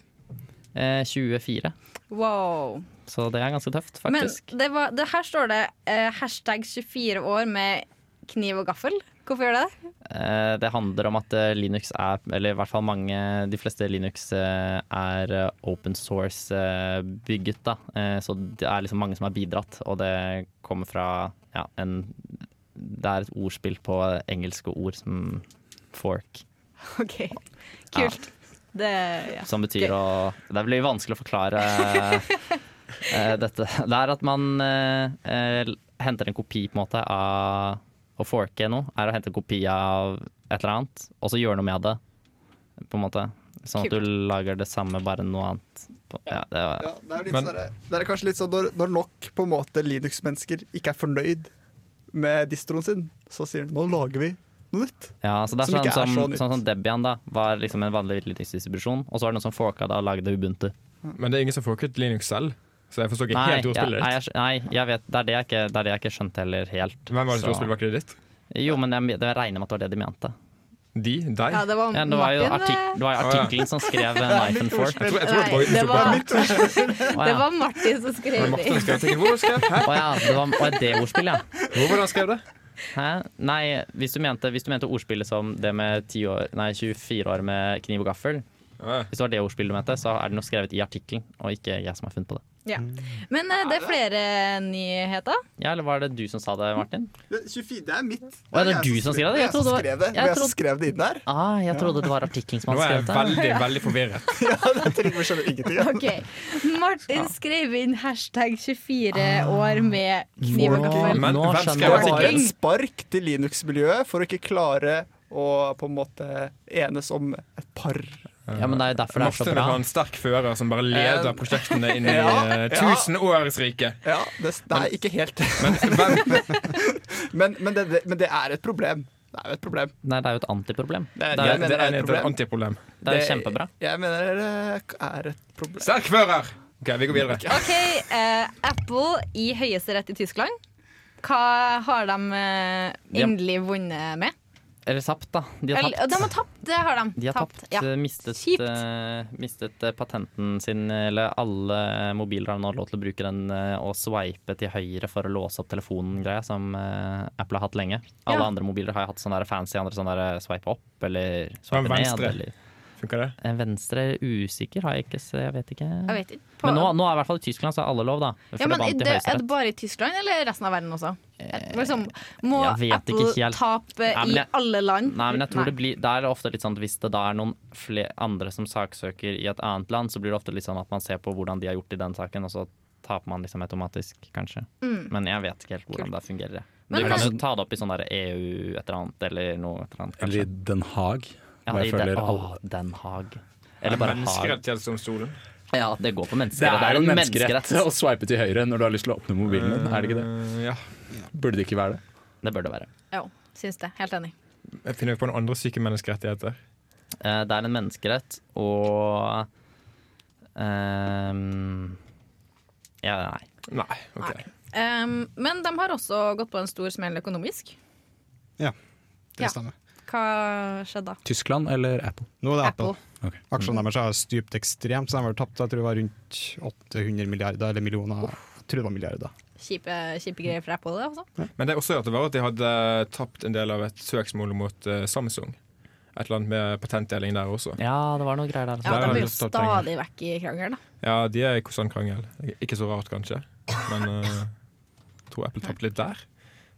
S6: Eh, 24.
S1: Wow.
S6: Så det er ganske tøft, faktisk.
S1: Men det, var, det her står det eh, hashtag 24 år med kniv og gaffel. Hvorfor gjør det det?
S6: Eh, Det handler om at eh, Linux er, eller i hvert fall mange, de fleste Linux eh, er eh, open source eh, bygget. Da. Eh, Så det er liksom mange som har bidratt, og det kommer fra ja, en Det er et ordspill på engelske ord som fork,
S1: OK, kult. Det, ja.
S6: som betyr å Det blir vanskelig å forklare eh, dette. Det er at man eh, eh, henter en kopi på en måte av Å forke noe er å hente en kopi av et eller annet, og så gjøre noe med det. På en måte. Sånn at du lager det samme, bare noe annet. På- Ja, det var,
S9: Ja, det, er litt
S3: Men-
S9: sånn der- det er kanskje litt sånn når, når nok på en måte Linux-mennesker ikke er fornøyd med distroen sin, så sier de nå lager vi noe nytt.
S6: ja, så det er
S9: Som ikke
S6: sånn
S9: er
S6: som,
S9: så nytt.
S6: sånn som Debian da, var liksom en vanlig Linux-distribusjon, og så var det noen som forka det og lagde Ubuntu.
S3: Men det er ingen som folket Linux selv, så jeg forstår ikke
S6: Nei,
S3: helt
S6: ja, nei,
S3: ordspillet ditt.
S6: jeg, skj- nei jeg vet, det er det jeg ikke, det er det jeg ikke skjønte heller helt.
S3: Hvem var
S6: Så-
S3: det som ordspillet var ikke det ditt?
S6: Jo, men jeg, jeg regner med at det var det de mente.
S3: De? Deg?
S1: ja, det var
S6: Ja,
S1: Martin.
S6: det var jo
S1: eh,
S6: artik det var jo
S3: Å, ja.
S6: artikkelen som skrev eh, Knife and Fork.
S3: Jeg tror, jeg tror
S1: Nei,
S3: det var
S1: det var,
S3: ordspillet.
S1: det
S6: Å ja.
S1: var Martin som skrev
S3: Men Martin
S1: det.
S3: skrev artikkelen. Hvor skrev Hæ?
S6: Å ja, det var å, det ordspillet, ja.
S3: Hvor var det han skrev det?
S6: Hæ? Nei, hvis du, mente, hvis du mente ordspillet som det med 10 år, nei, 24 år med kniv og gaffel,
S3: Ja.
S6: hvis det var det ordspillet du mente, så er det noe skrevet i artikkelen, og ikke jeg som har funnet på det.
S1: Ja. Men eh, det er flere nyheter.
S6: Ja, eller var det du som sa det, Martin?
S9: Det, 24, det er mitt.
S6: Å, er det du som skrev det? Jeg
S9: Jeg som
S6: trodde det var-
S9: skrev
S6: jeg
S9: det. Det var Jeg som
S6: trodde-
S9: skrev det inn der.
S6: Ah, jeg trodde det var artikkelen som
S3: Nå er
S6: hadde
S3: jeg
S6: skrevet det.
S3: veldig, veldig forvirret.
S9: Ja, det Trygve skjønner ingenting. ja.
S1: Ok, Martin skrev inn hashtag
S6: Ah.
S1: 24 år med kniv og
S6: Nå,
S1: gaffel.
S3: Men
S6: nå
S3: hvem
S9: Det
S3: skrev
S6: skjønner jeg.
S9: var
S3: artikkelen?
S9: en spark til Linux-miljøet for å ikke klare å på en måte enes om et par
S6: Ja, men det er jo derfor det er så
S3: Martin
S6: bra. Eh,
S3: har en sterk fører som bare leder prosjektene inn i
S9: Ja,
S3: eh,
S9: ja.
S3: tusenårsriket.
S9: Ja, det, det er ikke helt
S3: Men hvem
S9: men, men, det, det, men det er et problem. Det er jo et problem.
S6: Nei, det er jo et antiproblem. Det
S9: Det-
S6: er,
S3: Ja,
S9: jeg
S6: jo-
S9: mener
S3: det
S9: det er
S3: er
S9: et
S3: et
S9: problem.
S3: antiproblem.
S6: det er jo kjempebra.
S9: Jeg mener det er et problem.
S3: Sterk fører! OK, vi går videre.
S1: OK, eh, Apple i høyesterett i Tyskland. Hva har de eh,
S6: Ja.
S1: endelig vunnet med?
S6: Eller tapt, da. De har
S1: Eller,
S6: tapt.
S1: de har tapt, det har de.
S6: De har tapt,
S1: Ja.
S6: eh, mistet,
S1: Kjipt.
S6: eh, mistet eh, patenten sin, eller alle mobiler har nå lov til å bruke den eh, og sveipe til høyre for å låse opp telefonen-greia, som eh, Apple har hatt lenge. Alle
S1: Ja.
S6: andre mobiler har jo hatt sånne der fancy andre sånn der sveipe opp eller
S3: Men
S6: sveipe ned.
S3: venstre?
S6: Eller.
S3: Funker det?
S6: Eh, Venstre er usikker, har jeg ikke se, jeg vet ikke.
S1: Jeg vet ikke.
S6: Men nå, nå er i hvert fall i Tyskland så er alle lov, da. For
S1: ja, men er
S6: det vant i
S1: det, er det
S6: høyesterett.
S1: bare i Tyskland eller resten av verden også? Liksom, må
S6: jeg vet
S1: Apple
S6: ikke helt.
S1: tape
S6: Nei, men
S1: i
S6: jeg-
S1: alle land?
S6: Nei, men jeg tror det blir Det er ofte litt sånn at hvis det da er noen fle- andre som saksøker i et annet land, så blir det ofte litt sånn at man ser på hvordan de har gjort i den saken, og så taper man liksom automatisk, kanskje. Men jeg vet ikke helt hvordan det fungerer. jeg.
S1: Men
S6: du
S1: hvordan-
S6: kan jo ta det opp i sånn der EU et eller annet, eller noe et eller annet,
S4: Eller i
S6: kanskje.
S4: Den Haag.
S6: Ja,
S4: hvor jeg
S6: i den,
S4: føler
S6: å,
S4: alle-
S6: den Haag. Eller bare Haag.
S3: Menneskerettighetsdomstolen.
S6: Ja, det går på
S4: Det
S6: menneskerett.
S4: er jo en menneskerett Mm. å sveipe til høyre når du har lyst til å åpne mobilen din, er det ikke det?
S3: Eh, ja.
S4: Burde det ikke være det?
S6: Det bør det være.
S1: Jo, syns det. Helt enig.
S3: Jeg finner på noen andre syke menneskerettigheter.
S6: Eh, Det er en menneskerett, og ehm, Ja, nei.
S3: Nei. ok
S1: Um, men de har også gått på en stor smell økonomisk.
S2: Ja,
S1: Ja.
S2: det stemmer.
S1: Hva skjedde da?
S4: Tyskland eller Apple?
S2: Nå er det Apple.
S1: Apple. Mm.
S2: Aksjene deres har stupt ekstremt, så de har vel tapt jeg tror det var rundt 800 milliarder eller millioner. Jeg tror det var milliarder.
S1: Kjipe, kjipe greier for Apple, det også.
S3: Men det jeg også hørte var at de hadde eh, tapt en del av et søksmål mot eh, Samsung. Et eller annet med patentdeling der også.
S6: Ja, det var noe greier der.
S1: Ja, de er jo
S6: Altså.
S3: Der har de tatt penger.
S1: stadig vekk i krangelen. da.
S3: Ja, de er i konsernkrangel. Ikke så rart, kanskje. Men eh, jeg tror Apple tapte litt der.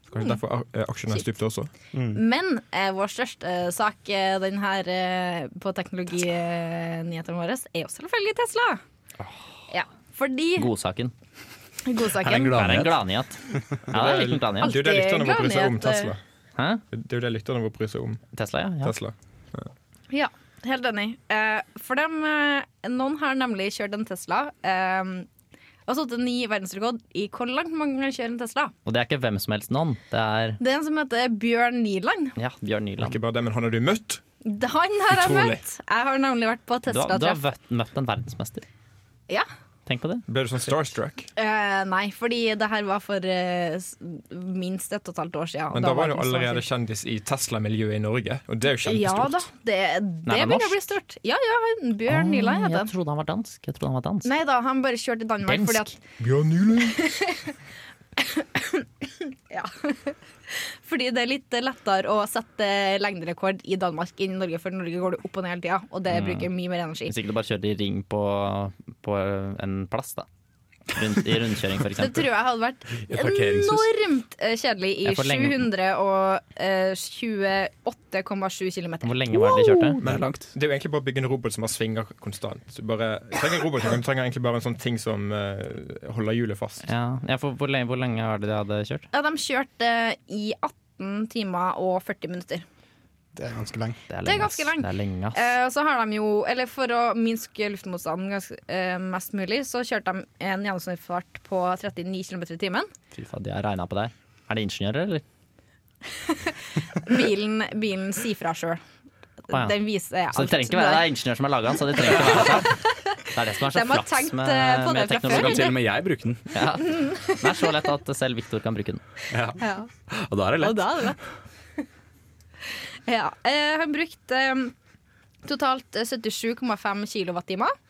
S3: Så Kanskje derfor a- eh, aksjene
S1: Kjipt.
S3: stupte også.
S1: Men eh, vår største eh, sak eh, den her eh, på teknologinyhetene våre er jo selvfølgelig Tesla. Ja, fordi
S6: Godsaken.
S4: Er det en
S1: Godsaken
S6: Det er en
S4: gladnyhet?
S6: gladnyhet. Ja, det er en liten gladnyhet.
S3: Det er jo det lytterne må bry seg om
S1: Alltid
S3: Tesla.
S6: Hæ?
S3: Det er jo det lytterne må bry seg om
S6: Tesla, ja. ja.
S3: Tesla.
S1: Ja, helt enig. Eh, for dem, eh, noen har nemlig kjørt en Tesla. Eh, og satt en ny verdensrekord i hvor langt man kan kjøre en Tesla.
S6: Og det er ikke hvem som helst noen. Det er
S1: Det er en som heter Bjørn Niland.
S6: ja, Bjørn Nyland.
S3: Ikke bare det, men han har du møtt!
S1: Han har jeg
S3: Utrolig.
S1: møtt. Jeg har nemlig vært på
S6: Du har, du har
S1: Tesla-treff.
S6: vøtt- møtt en verdensmester.
S1: Ja.
S6: Tenk på det.
S3: Ble du sånn starstruck?
S1: Eh, nei, fordi det her var for eh, s- minst et og et halvt år siden. og
S3: Men da var du
S1: den så
S3: allerede
S1: syk.
S3: kjendis i Tesla-miljøet i Norge, og det er jo
S1: sånn Ja da,
S3: kjempestort.
S1: det, det
S6: han er
S1: begynner å
S6: norsk.
S1: bli stort. Ja ja, han- Bjørn Niland heter
S6: jeg
S1: han.
S6: trodde han var dansk. Jeg trodde han var dansk.
S1: Nei da, han bare kjørte i Danmark
S6: Dansk.
S1: fordi at
S3: Bjørn Nyland!
S1: Ja. Fordi det er litt lettere å sette lengderekord i Danmark enn i Norge, for i Norge går det opp og ned hele tida, og det bruker mye mer energi.
S6: Mm. Hvis ikke du bare kjører i ring på, på en plass, da. Rundt, I rundkjøring, for
S1: Det tror
S6: eksempel.
S1: jeg hadde vært
S3: I parkeringshus.
S1: enormt eh, kjedelig i
S6: Jeg får lenge-
S1: eh, 728,7 km.
S6: Hvor lenge var det de kjørte?
S9: Det er langt.
S3: Det er jo egentlig bare å bygge en robot som har svinger konstant. Du bare du trenger en robot, men du trenger egentlig bare en sånn ting som eh, holder hjulet fast.
S6: Ja, ja for hvor lenge, hvor lenge var det de hadde kjørt?
S1: Ja, de kjørte eh, i 18 timer og 40 minutter.
S2: Det er ganske lenge.
S6: Det er,
S1: ganske lenge.
S6: ass. Det er lenge, ass.
S1: Eh, og så har de jo, eller for å minske luftmotstanden ganske, eh, mest mulig, så kjørte de en gjennomsnittsfart på 39 km i timen.
S6: Fy faen, de har regna på det her. Er det ingeniører, eller?
S1: Bilen, bilen sier fra sjøl.
S6: ja.
S1: Den viser alt.
S6: Så det trenger ikke være det er ingeniør som har laga den, så det trenger ikke være sånn. Det er det som er så
S1: De har
S6: flaks
S1: tenkt,
S6: med,
S1: eh, på
S6: med
S1: det fra
S4: Så kan
S6: teknologi.
S4: til og med jeg bruke den.
S6: Ja. Det er så lett at selv Viktor kan bruke den.
S1: Ja.
S4: Og da er det
S1: Og
S4: lett.
S1: da er det lett. ja. Eh, han brukte eh, totalt eh, 77,5 kilowattimer.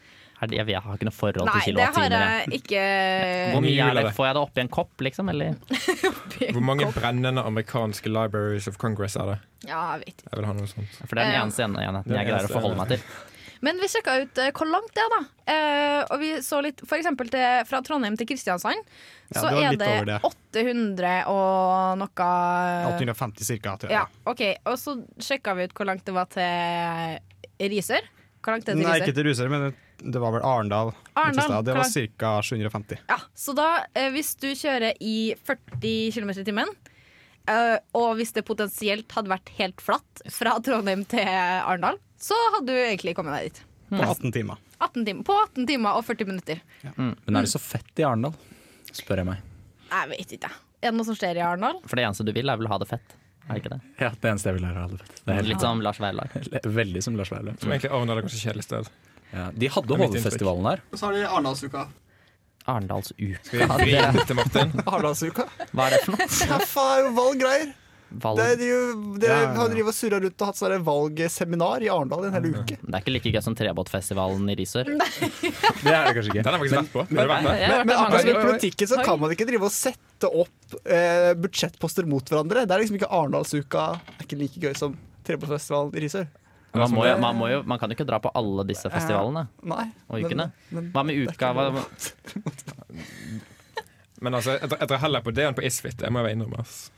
S6: Er det, jeg, vet- jeg har ikke noe forhold
S1: Nei,
S6: til
S1: det har
S6: kilowattimer. jeg.
S1: jeg ikke
S6: Hvor mye er
S3: Mye
S6: det?
S3: er det.
S6: Får jeg det oppi en kopp, liksom? Eller?
S3: Hvor mange brennende amerikanske libraries of Congress er det?
S1: Ja, jeg vet ikke.
S3: Jeg vil ha noe sånt.
S6: For det er den
S1: Eh,
S6: eneste ene- enheten
S3: den
S6: jeg greier å
S3: eneste-
S6: forholde meg til.
S1: Men vi sjekka ut eh, hvor langt det er, da. Eh, og vi så litt For eksempel til, fra Trondheim til Kristiansand,
S2: Ja,
S1: så
S2: det var
S1: er
S2: litt
S1: det,
S2: over det.
S1: 800 og noe
S2: 850 cirka, tror jeg.
S1: Eh. Ja, OK. Og så sjekka vi ut hvor langt det var til Risør. Hvor langt er det til
S2: Nei, ikke
S1: Risør?
S2: til Ruser, men det var vel Arendal.
S1: Arendal,
S2: Manchester. Det var
S1: klar.
S2: ca. 750.
S1: Ja, så da, eh, hvis du kjører i 40 km i timen, eh, og hvis det potensielt hadde vært helt flatt fra Trondheim til Arendal, så hadde du egentlig kommet deg dit.
S2: På 18 timer.
S1: 18 timer, på 18 timer og 40 minutter.
S4: Men er det så fett i Arendal? Spør jeg meg.
S1: Jeg vet ikke. Er det noe som skjer i Arendal?
S6: For det eneste du vil, er vel å ha det fett. Er det ikke det?
S4: Ja, det eneste jeg vil lære, er fett. Mm. Det er
S6: Litt som Lars Veilag.
S4: helt, veldig som Lars Vaular.
S3: Som egentlig Arendal er kanskje et kjedelig sted.
S4: Ja, de hadde
S3: er mitt inntrykk.
S4: Hovefestivalen her.
S9: Og så har de Arendalsuka.
S6: Arendalsuka.
S3: Skal vi vri den til Martin?
S9: Arendalsuka?
S6: Hva er det for noe?
S9: Ja, faen, det er jo valggreier. Det er
S6: Valg.
S9: de jo- Dere
S2: Ja, ja, ja.
S9: har drivet og surra rundt og hatt sånne valgseminar i Arendal en hel uke.
S6: Det er ikke like gøy som Trebåtfestivalen i Risør.
S4: Det er det kanskje
S3: Den har jeg faktisk vært på. Har du
S6: Jeg
S3: vært
S6: har vært
S3: med?
S9: Men
S6: der mange
S9: akkurat som i
S6: ganger.
S9: politikken så kan man ikke drive og sette opp eh, budsjettposter mot hverandre. Det er liksom ikke Arendalsuka er ikke like gøy som Trebåtsfestivalen i Risør.
S6: Man, må jo, man, må jo, man kan jo ikke dra på alle disse festivalene
S9: Nei.
S6: og ukene.
S9: Men,
S6: Hva med uka? Hva,
S3: Men altså, jeg drar- jeg drar heller på det enn på Isfit. Det må jeg bare innrømme. ass.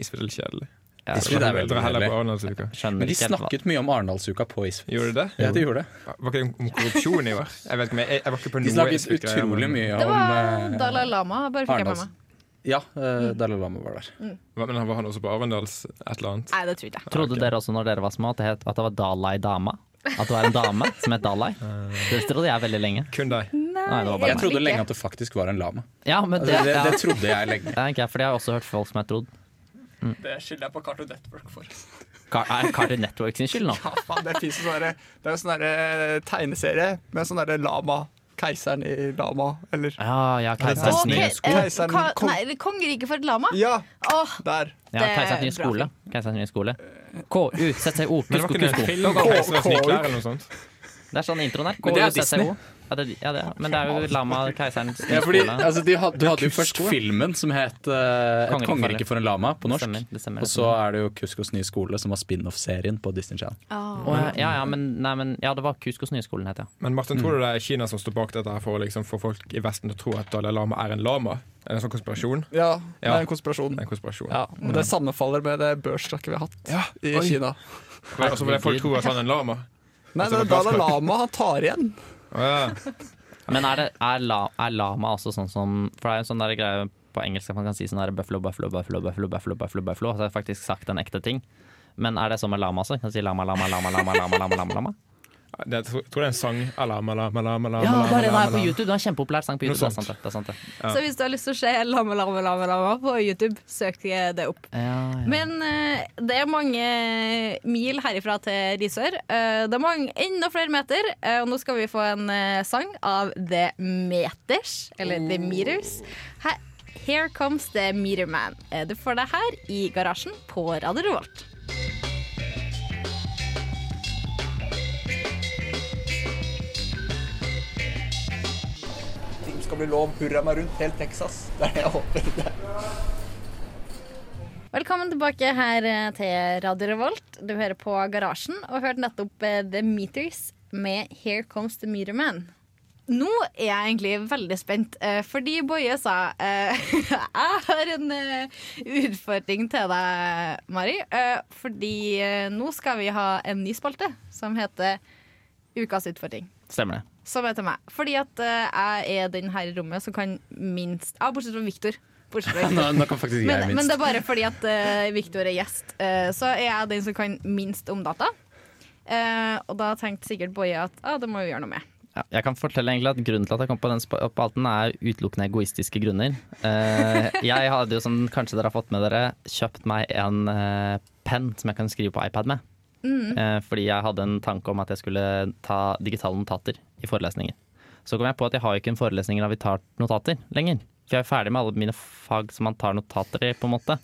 S3: Isfit er litt kjedelig.
S6: Ja,
S3: Jeg
S4: Isfit er veldig
S3: drar heller
S4: kjedelig.
S3: på Arendalsuka.
S6: skjønner
S4: Men de
S6: ikke helt hva-
S4: snakket mye om Arendalsuka på Isfjord.
S3: Gjorde du det?
S4: Ja, de gjorde det.
S3: Var ikke det om korrupsjon i år? Jeg vet ikke, men jeg, jeg var ikke på
S4: De
S3: noe
S4: snakket
S3: Isfit-greier, men-
S4: utrolig mye
S1: Det
S4: om
S1: var
S4: eh,
S1: Dalai Lama. Bare fikk jeg med
S4: Arendals.
S1: meg.
S4: Ja, eh, Dalai Lama var der.
S3: Hva- Men han var han også på Arendals et eller annet?
S1: Nei, det tror ikke jeg.
S6: Trodde dere også når dere var små at det, het, at det var Dalai Dama? At det var en dame som het Dalai?
S4: Eh.
S6: Det trodde jeg veldig lenge.
S3: Kun deg.
S6: Nei, det var bare
S4: Jeg trodde lenge at det faktisk var en lama.
S6: Ja, men det,
S4: Altså, det,
S6: ja.
S4: det trodde jeg lenge.
S6: Det er ikke jeg, for det har jeg også hørt folk som har trodd.
S9: Det skylder jeg på Cartoon Network for.
S6: Car- Er Cartoon Network sin skyld nå?
S9: Ja, faen, det, finnes jo sånne, der- det er jo sånn derre tegneserie med sånn derre lama. Keiseren i lama, eller
S6: Ja, ja, Keiserens
S1: Ok,
S6: nye,
S1: eh,
S9: Keiseren
S1: ka-
S9: kong-
S1: Nei, kongeriket for et lama?
S9: Ja,
S1: Åh,
S9: der.
S6: ja, Keiserens nye skole. Keiserens nye skole. KU-CCO.
S3: Men det var
S6: Kusko,
S3: ikke noe
S6: kusko.
S3: film om Keiserens nye klær eller noe sånt?
S6: Det er sånn introen her.
S4: Men det er Disney.
S6: KU-CCO. Ja, det, ja, det er. Men det er jo Lama Keiserens nye
S4: Ja, fordi,
S6: skole.
S4: altså, de had, du hadde jo først filmen som het eh, Et
S6: Kongerike
S4: kongerike for en lama på norsk.
S6: Stemmer, det stemmer.
S4: Og så er det jo Kuskos nye skole, som var spin-off-serien på Disney Channel.
S1: åh.
S6: Å, ja, ja, ja, men, nei, men, ja, det var Kuskos nye skolen, het jeg.
S3: Men Martin, tror du det er Kina som står bak dette her for å liksom få folk i Vesten til å tro at Dalai Lama er en lama? Er det en sånn konspirasjon?
S9: Ja, det
S3: Ja.
S9: er en konspirasjon.
S3: Det er en konspirasjon.
S9: Ja, og det sammenfaller med det børssnakket vi har hatt
S3: Ja,
S9: i
S3: oi.
S9: Kina.
S3: For det er også fordi folk tror at han er en lama.
S9: Nei,
S3: Altså,
S9: det er
S3: det er
S9: Dalai Lama han tar igjen.
S3: Å ja.
S6: Men er, det, er, la, er lama også sånn som For det er jo en sånn der greie på engelsk at man kan si sånn der buffalo, buffalo, buffalo, buffalo, buffalo, buffalo, buffalo. Så har jeg faktisk sagt en ekte ting. Men er det sånn med lama også? Kan du si lama, lama, lama, lama, lama, lama, lama, lama?
S3: det, jeg tror tror det er en sang. Alama, lama, lama, lama,
S6: Ja, det er
S3: lama,
S6: det
S3: lama,
S6: der på
S3: lama.
S6: YouTube. Det er en kjempepopulær sang på
S3: Noe
S6: YouTube. Det er sant,
S3: sånt.
S6: det. det, er sant, det.
S1: Så hvis du har lyst til å se Lama, Lama, Lama, Lama på YouTube, søk det opp.
S6: Ja, ja.
S1: Men eh, det er mange mil herifra til Risør. Eh, det er mange, enda flere meter. eh, og nå skal vi få en eh, sang av The Meters, eller The Meters. Her, Here Comes The Meter Man. Eh, du får det her i garasjen på Radio Revolt.
S9: Ting skal bli lov, hurra meg rundt, helt Texas. Det er det jeg håper.
S1: Velkommen tilbake her eh, til Radio Revolt. Du hører på Garasjen og hørte nettopp eh, The Meters med Here Comes the Meter Man. Nå er jeg egentlig veldig spent, eh, fordi Boje sa eh, Jeg har en eh, utfordring til deg, Mari. eh, Fordi eh, nå skal vi ha en ny spalte som heter Ukas utfordring.
S6: Stemmer det.
S1: Som er til meg. Fordi at eh, jeg er den her i rommet som kan minst Ja, bortsett fra Victor. Bortsett fra Victor.
S10: Nå, nå kan faktisk jeg
S1: Men, men
S10: minst.
S1: det er bare fordi at eh, Victor er gjest. eh, så er jeg den som kan minst om data. Eh, og da tenkte sikkert Boje at ah, det må vi gjøre noe med.
S6: Ja, jeg kan fortelle egentlig at Grunnen til at jeg kom på den spa- spalten, er utelukkende egoistiske grunner. Eh, jeg hadde jo, som kanskje dere har fått med dere, kjøpt meg en eh, penn som jeg kan skrive på iPad med. Eh, fordi jeg hadde en tanke om at jeg skulle ta digitale notater i forelesninger. Så kom jeg på at jeg har jo ikke en forelesning der vi tar notater lenger. For jeg er ferdig med alle mine fag som man tar notater i, på en måte.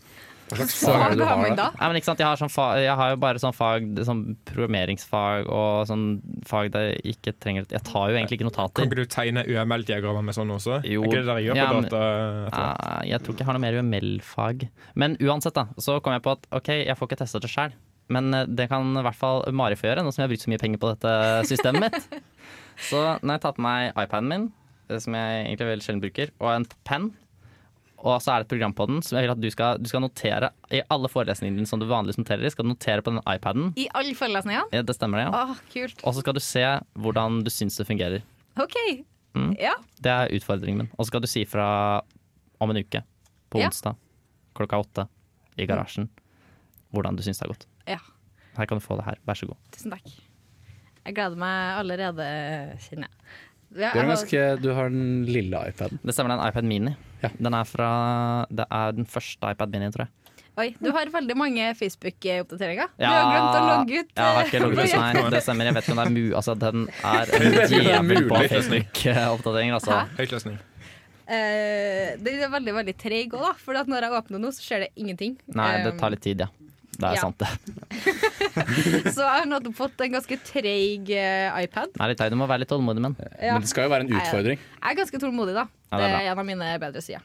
S1: Så
S10: er det du
S1: har
S10: har,
S1: man
S10: da?
S1: da?
S6: Nei, men ikke sant? Jeg, har sånn fa jeg har jo bare sånn fag, sånn programmeringsfag og sånn fag der jeg ikke trenger Jeg tar jo egentlig ikke
S3: Kan
S6: notater.
S3: ikke du tegne UML-diagrammer med sånn også?
S6: Jo.
S3: Er ikke det dere gjør
S6: Ja,
S3: på
S6: men-
S3: data?
S6: Ah, jeg tror ikke jeg har noe mer UML-fag. Men uansett, da, så kom jeg på at ok, jeg får ikke testa det sjøl. Men eh, det kan i hvert fall Mari få gjøre, nå som jeg har brukt så mye penger på dette systemet mitt. Så nå har jeg tatt på meg iPaden min, eh, som jeg egentlig veldig sjelden bruker, og en penn. Og så er det et program på den som jeg vil at du skal, du skal notere i alle forelesningene dine som du vanligvis noterer i. Skal du notere på den iPaden.
S1: I alle forelesningene?
S6: Ja, det stemmer det, ja.
S1: Åh, kult.
S6: Og så skal du se hvordan du syns det fungerer.
S1: OK. Ja.
S6: Det er utfordringen min. Og så skal du si fra om en uke, på
S1: Ja.
S6: onsdag klokka åtte, i garasjen, hvordan du syns det har gått.
S1: ja.
S6: Her kan du få det her, vær så god.
S1: Tusen takk. Jeg gleder meg allerede, kjenner jeg. Ja,
S10: Du,
S1: jeg
S10: har
S1: har-
S10: ganske, du har den lille iPaden.
S6: Det stemmer, det er en iPad Mini.
S10: Ja.
S6: Den er fra Det er den første iPad Mini, tror jeg.
S1: Oi, du har veldig mange Facebook-oppdateringer. Du har
S6: Ja,
S1: glemt å logge ut.
S6: Jeg har ikke logget ut,
S1: eh,
S6: nei. Det stemmer. Jeg vet ikke om det er mu... Altså, den er
S10: vet
S6: en
S10: ikke om det er
S6: djevel på
S10: mulig.
S6: Facebook-oppdateringer, altså.
S1: Hæ?
S3: Høytløsning.
S1: Eh, Den er veldig veldig treig òg, da. For at når jeg åpner nå, så skjer det ingenting.
S6: Nei, det
S1: Um,
S6: tar litt tid, ja. Det er
S1: Ja.
S6: sant, det.
S1: Så jeg har nettopp fått en ganske treig eh, iPad.
S6: Det er litt teit. Du må være litt tålmodig, men.
S1: Ja.
S10: Men det skal jo være en
S1: Nei,
S10: utfordring.
S1: Jeg er ganske tålmodig, da.
S6: Ja,
S1: det,
S6: det er
S1: er
S6: bra.
S1: en av mine bedre sider.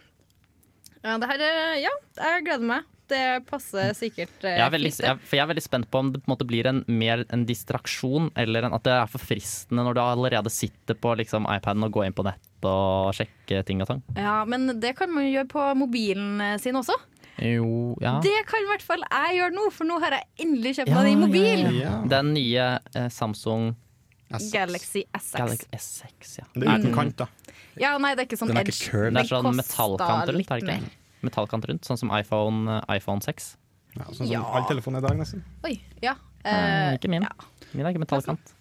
S1: Ja, det her er, ja, jeg gleder meg. Det passer sikkert. eh,
S6: Jeg er, veldig,
S1: fint, det.
S6: jeg, for jeg er veldig spent på om det på en måte blir en, mer en distraksjon, eller en, at det er for fristende når du allerede sitter på liksom, iPaden og går inn på nett og sjekker ting og tang.
S1: ja, men det kan man jo gjøre på mobilen eh, sin også.
S6: Jo, ja.
S1: Det kan i hvert fall jeg gjøre nå, for nå har jeg endelig kjøpt
S6: Ja,
S1: meg
S6: ja,
S1: en mobil.
S6: ja,
S2: Ja.
S6: Den nye eh, Samsung
S2: S6.
S1: Galaxy S6.
S6: Galaxy S6, ja.
S2: Det er
S1: Mm.
S2: uten kant, da.
S1: Ja, nei, det er ikke sånn
S10: Den er
S1: edge.
S10: ikke curved.
S6: Det er sånn
S1: koster
S6: metallkant rundt, er det
S1: litt
S6: ikke? det? Metallkant rundt, sånn som iPhone, eh, iPhone 6.
S2: Ja, sånn som
S1: Ja.
S2: all telefon er i dag, nesten.
S1: Oi, ja.
S6: Eh,
S1: eh,
S6: ikke min. Min er ikke metallkant.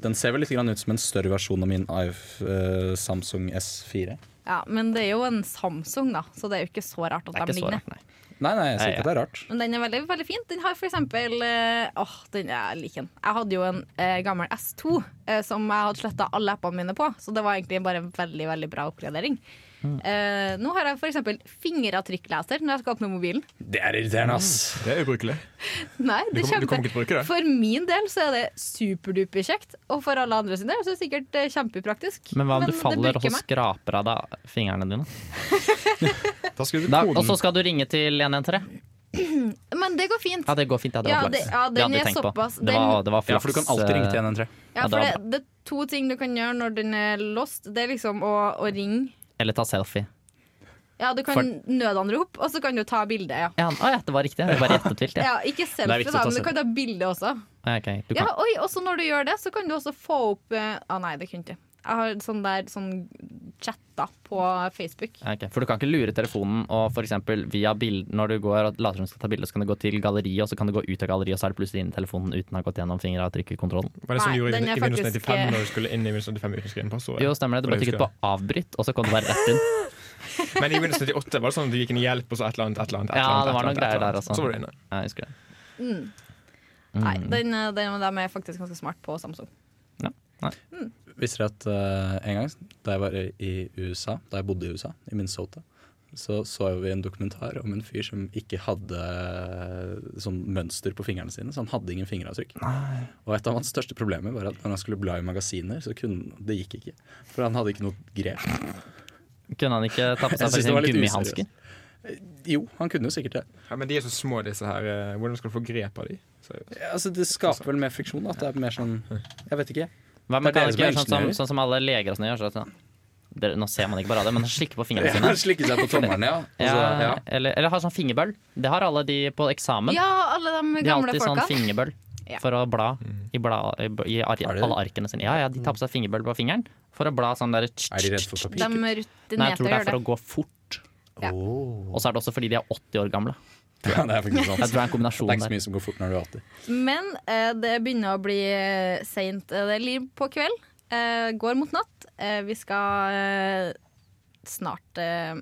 S10: Den ser vel litt grann ut som en større versjon av min iPh- eh, Samsung S4.
S1: ja, men det er jo en Samsung, da, så det er jo ikke så rart at
S6: Det er
S1: de
S6: ikke så
S1: ligner.
S6: rart, nei.
S10: Nei, nei, jeg
S6: Nei,
S10: sier ikke at det er rart.
S1: Men den er veldig, veldig fint. Den har for eksempel eh, Åh, den er jeg liker den. Jeg hadde jo en eh, gammel S2 eh, som jeg hadde sletta alle appene mine på, så det var egentlig bare en veldig veldig bra oppgradering. Eh, nå har jeg for eksempel fingeravtrykkleser når jeg skal åpne mobilen.
S10: Det er irriterende,
S6: Mm.
S10: ass.
S3: Det er ubrukelig.
S1: Nei, det
S3: Du kommer, du
S1: kjempe...
S3: kommer ikke til å bruke det.
S1: For min del så er det superduper kjekt, og for alle andre sin del så er det sikkert eh, kjempepraktisk.
S6: Men hva om
S1: Men
S6: du faller
S1: det
S6: og
S1: bruker
S6: så skraper av deg fingrene dine?
S2: Da skulle du
S6: Da,
S2: koden
S6: og så skal du ringe til 113?
S1: meg. Men det går fint.
S6: Ja, det går fint. Ja, det
S1: Ja,
S6: var
S1: det-
S6: flaks.
S1: ja, den
S6: hadde jeg
S1: er
S6: tenkt på.
S1: såpass-
S6: Det var,
S1: den-
S6: det var flaks. eh,
S10: Ja, for du kan alltid ringe til 113.
S1: Ja,
S6: Ja,
S1: for
S6: det
S1: det,
S6: var
S1: det er to ting du kan gjøre når den er lost. Det er liksom å, å ringe.
S6: Eller ta selfie.
S1: Ja, du kan nødanrop, og så kan du ta bilde. Ja.
S6: Ja, å, ja, det var riktig. Jeg bare gjettet vilt. Ja.
S1: Ja, ikke
S10: Det er
S1: selfie,
S10: viktig å
S1: da,
S10: ta
S1: men du kan ta bilde også.
S6: ok, du
S1: Ja,
S6: kan.
S1: oi, også når du gjør det, så kan du også få opp eh, ah, Nei, det kunne jeg ikke. Jeg har sånn der sånn chatta på Facebook.
S6: Ja, ok. For du kan ikke lure telefonen og for eksempel via bild, når du går og later som du skal ta bilde, så kan du gå til galleriet, og så kan du gå ut av galleriet, og så er det plutselig inn i telefonen uten å ha gått gjennom fingeravtrykkerkontrollen.
S3: Var det som
S1: Nei,
S3: du gjorde i,
S1: den er
S3: i Windows
S1: faktisk- eh,
S3: 95 når du skulle inn i Windows 95 uten å skrive inn passord?
S6: Jo, stemmer det. Du
S3: For
S6: bare
S3: det
S6: trykket på avbryt, og så kom du bare rett inn.
S3: Men i Windows 98 var det sånn at du gikk inn i hjelp og så et eller annet, et eller annet. et
S6: Ja,
S3: eller annet,
S6: det var
S3: et eller
S6: noen
S3: annet, et
S6: greier
S3: eller
S6: der,
S3: annet.
S6: altså.
S3: Så var du inne.
S6: Ja, jeg husker det. Mm.
S1: Nei, den, eh, den, de er faktisk ganske smart på Samsung.
S10: Visste dere at eh, en gang da jeg var i USA, da jeg bodde i USA, i Minnesota, så så vi en dokumentar om en fyr som ikke hadde eh, sånn mønster på fingrene sine. Så han hadde ingen fingeravtrykk. Og et av hans største problemer var at når han skulle bla i magasiner, så kunne det gikk ikke. For han hadde ikke noe grep.
S6: Kunne han ikke ta på
S10: Jeg
S6: seg for
S10: synes det var
S6: eksempel
S10: litt
S6: gummihansker?
S10: useriøst. Eh, Jo, han kunne jo sikkert det.
S3: Ja, men de er så små, disse her. eh, Hvordan skal du få grep av de? Seriøst.
S10: Ja, Altså, det skaper vel mer friksjon. At det er mer sånn Jeg vet ikke.
S6: Hva med
S10: Det er dere
S6: kan
S10: som er
S6: ikke gjøre sånn, som,
S10: ingeniører.
S6: sånn som alle leger og sånn gjør? Sånn. at- Dere, nå ser man ikke på radio, men slikker på fingrene
S10: Ja,
S6: sine.
S10: slikker seg på tommelen, ja. Altså, ja.
S6: Eller, eller har sånn fingerbøl. Det har alle de på eksamen.
S1: Ja, alle de
S6: de har
S1: gamle
S6: alltid
S1: folka.
S6: sånn fingerbøl
S1: Ja.
S6: for å bla i, bla, i, i
S10: Mm. Er
S6: ar
S10: det det?
S6: alle arkene sine. Ja, ja, de tar på seg fingerbøl på fingeren for å bla sånn der
S10: Er de redd for papir?
S1: De
S6: Nei, jeg
S1: rutinerte
S6: tror det
S1: gjør
S6: er for
S1: det.
S6: å gå fort.
S1: Ja.
S6: Og så er det også fordi de er 80 år gamle.
S10: Ja, det er faktisk sant.
S6: Jeg tror det er en
S10: Det er
S6: kombinasjon
S10: ikke så
S6: der.
S10: mye som går fort når du er 80.
S1: Men eh, det begynner å bli eh, seint. Eh, Det er liv på kveld. Eh, går mot natt. Eh, vi skal eh, snart eh,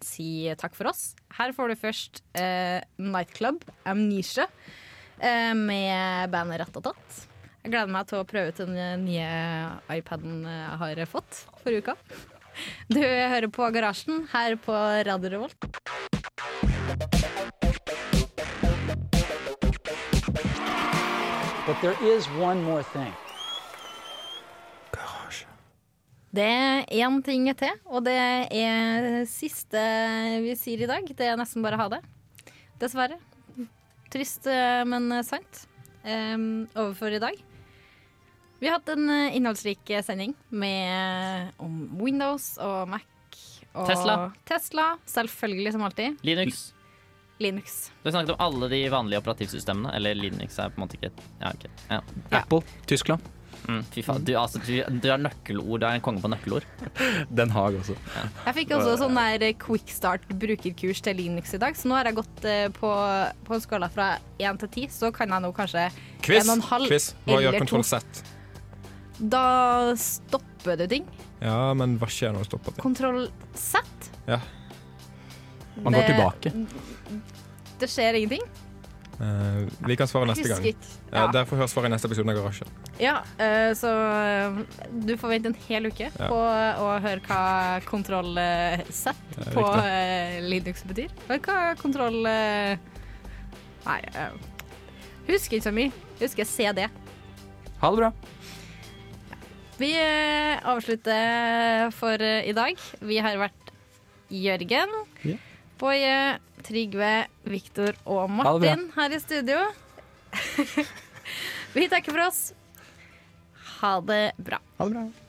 S1: si takk for oss. Her får du først eh, Nightclub Amnesia eh, med bandet Ratatat. Jeg gleder meg til å prøve ut den eh, nye iPaden eh, jeg har fått for uka. Du hører på Garasjen her på Radio Revolt.
S11: But there is one more thing.
S1: Det er én ting til, og det er siste vi sier i dag. Det er nesten bare ha det. Dessverre. Trist, eh, men sant. Em, over for i dag. Vi har hatt en eh, innholdsrik sending med, om Windows og Mac og
S6: Tesla.
S1: Tesla. Selvfølgelig, som alltid.
S6: Linux.
S1: Linux.
S6: Du snakket om alle de vanlige operativsystemene. Eller Linux er på en måte ikke et- ja, ok. ja.
S10: Apple, Tyskland.
S6: mm, Fy faen, du, altså, du, du er nøkkelord. Du er en konge på nøkkelord.
S10: Den Haag altså. også.
S1: Jeg fikk også sånn der quickstart brukerkurs til Linux i dag, så nå har jeg gått eh, på, på skala fra 1 til 10, så kan jeg nå kanskje
S3: Quiz!
S1: en og en halv
S3: Quiz. Hva gjør
S1: eller to.
S3: kontroll Z?
S1: Da stopper du ting.
S3: Ja, men hva skjer når du stopper det?
S1: Kontroll Z.
S3: Ja.
S10: Man går tilbake.
S1: Det skjer ingenting.
S3: Eh, vi kan svare neste gang.
S1: Husker ikke.
S3: Ja,
S1: Ja.
S3: der får vi høre svaret i neste episode av Garasjen.
S1: Ja, eh, så eh, du får vente en hel uke
S3: Ja.
S1: på å høre hva kontroll eh, Z
S3: er
S1: på
S3: riktig.
S1: eh, Linux betyr. Og hva kontroll eh, Nei, eh, husker ikke så mye. Husker CD.
S10: Ha det bra.
S1: Vi eh, avslutter for eh, i dag. Vi har vært Jørgen,
S10: Ja.
S1: Boje, Trygve, Viktor og
S10: Ha det bra.
S1: Martin her i studio. Vi takker for oss. Ha det bra.
S2: Ha det bra.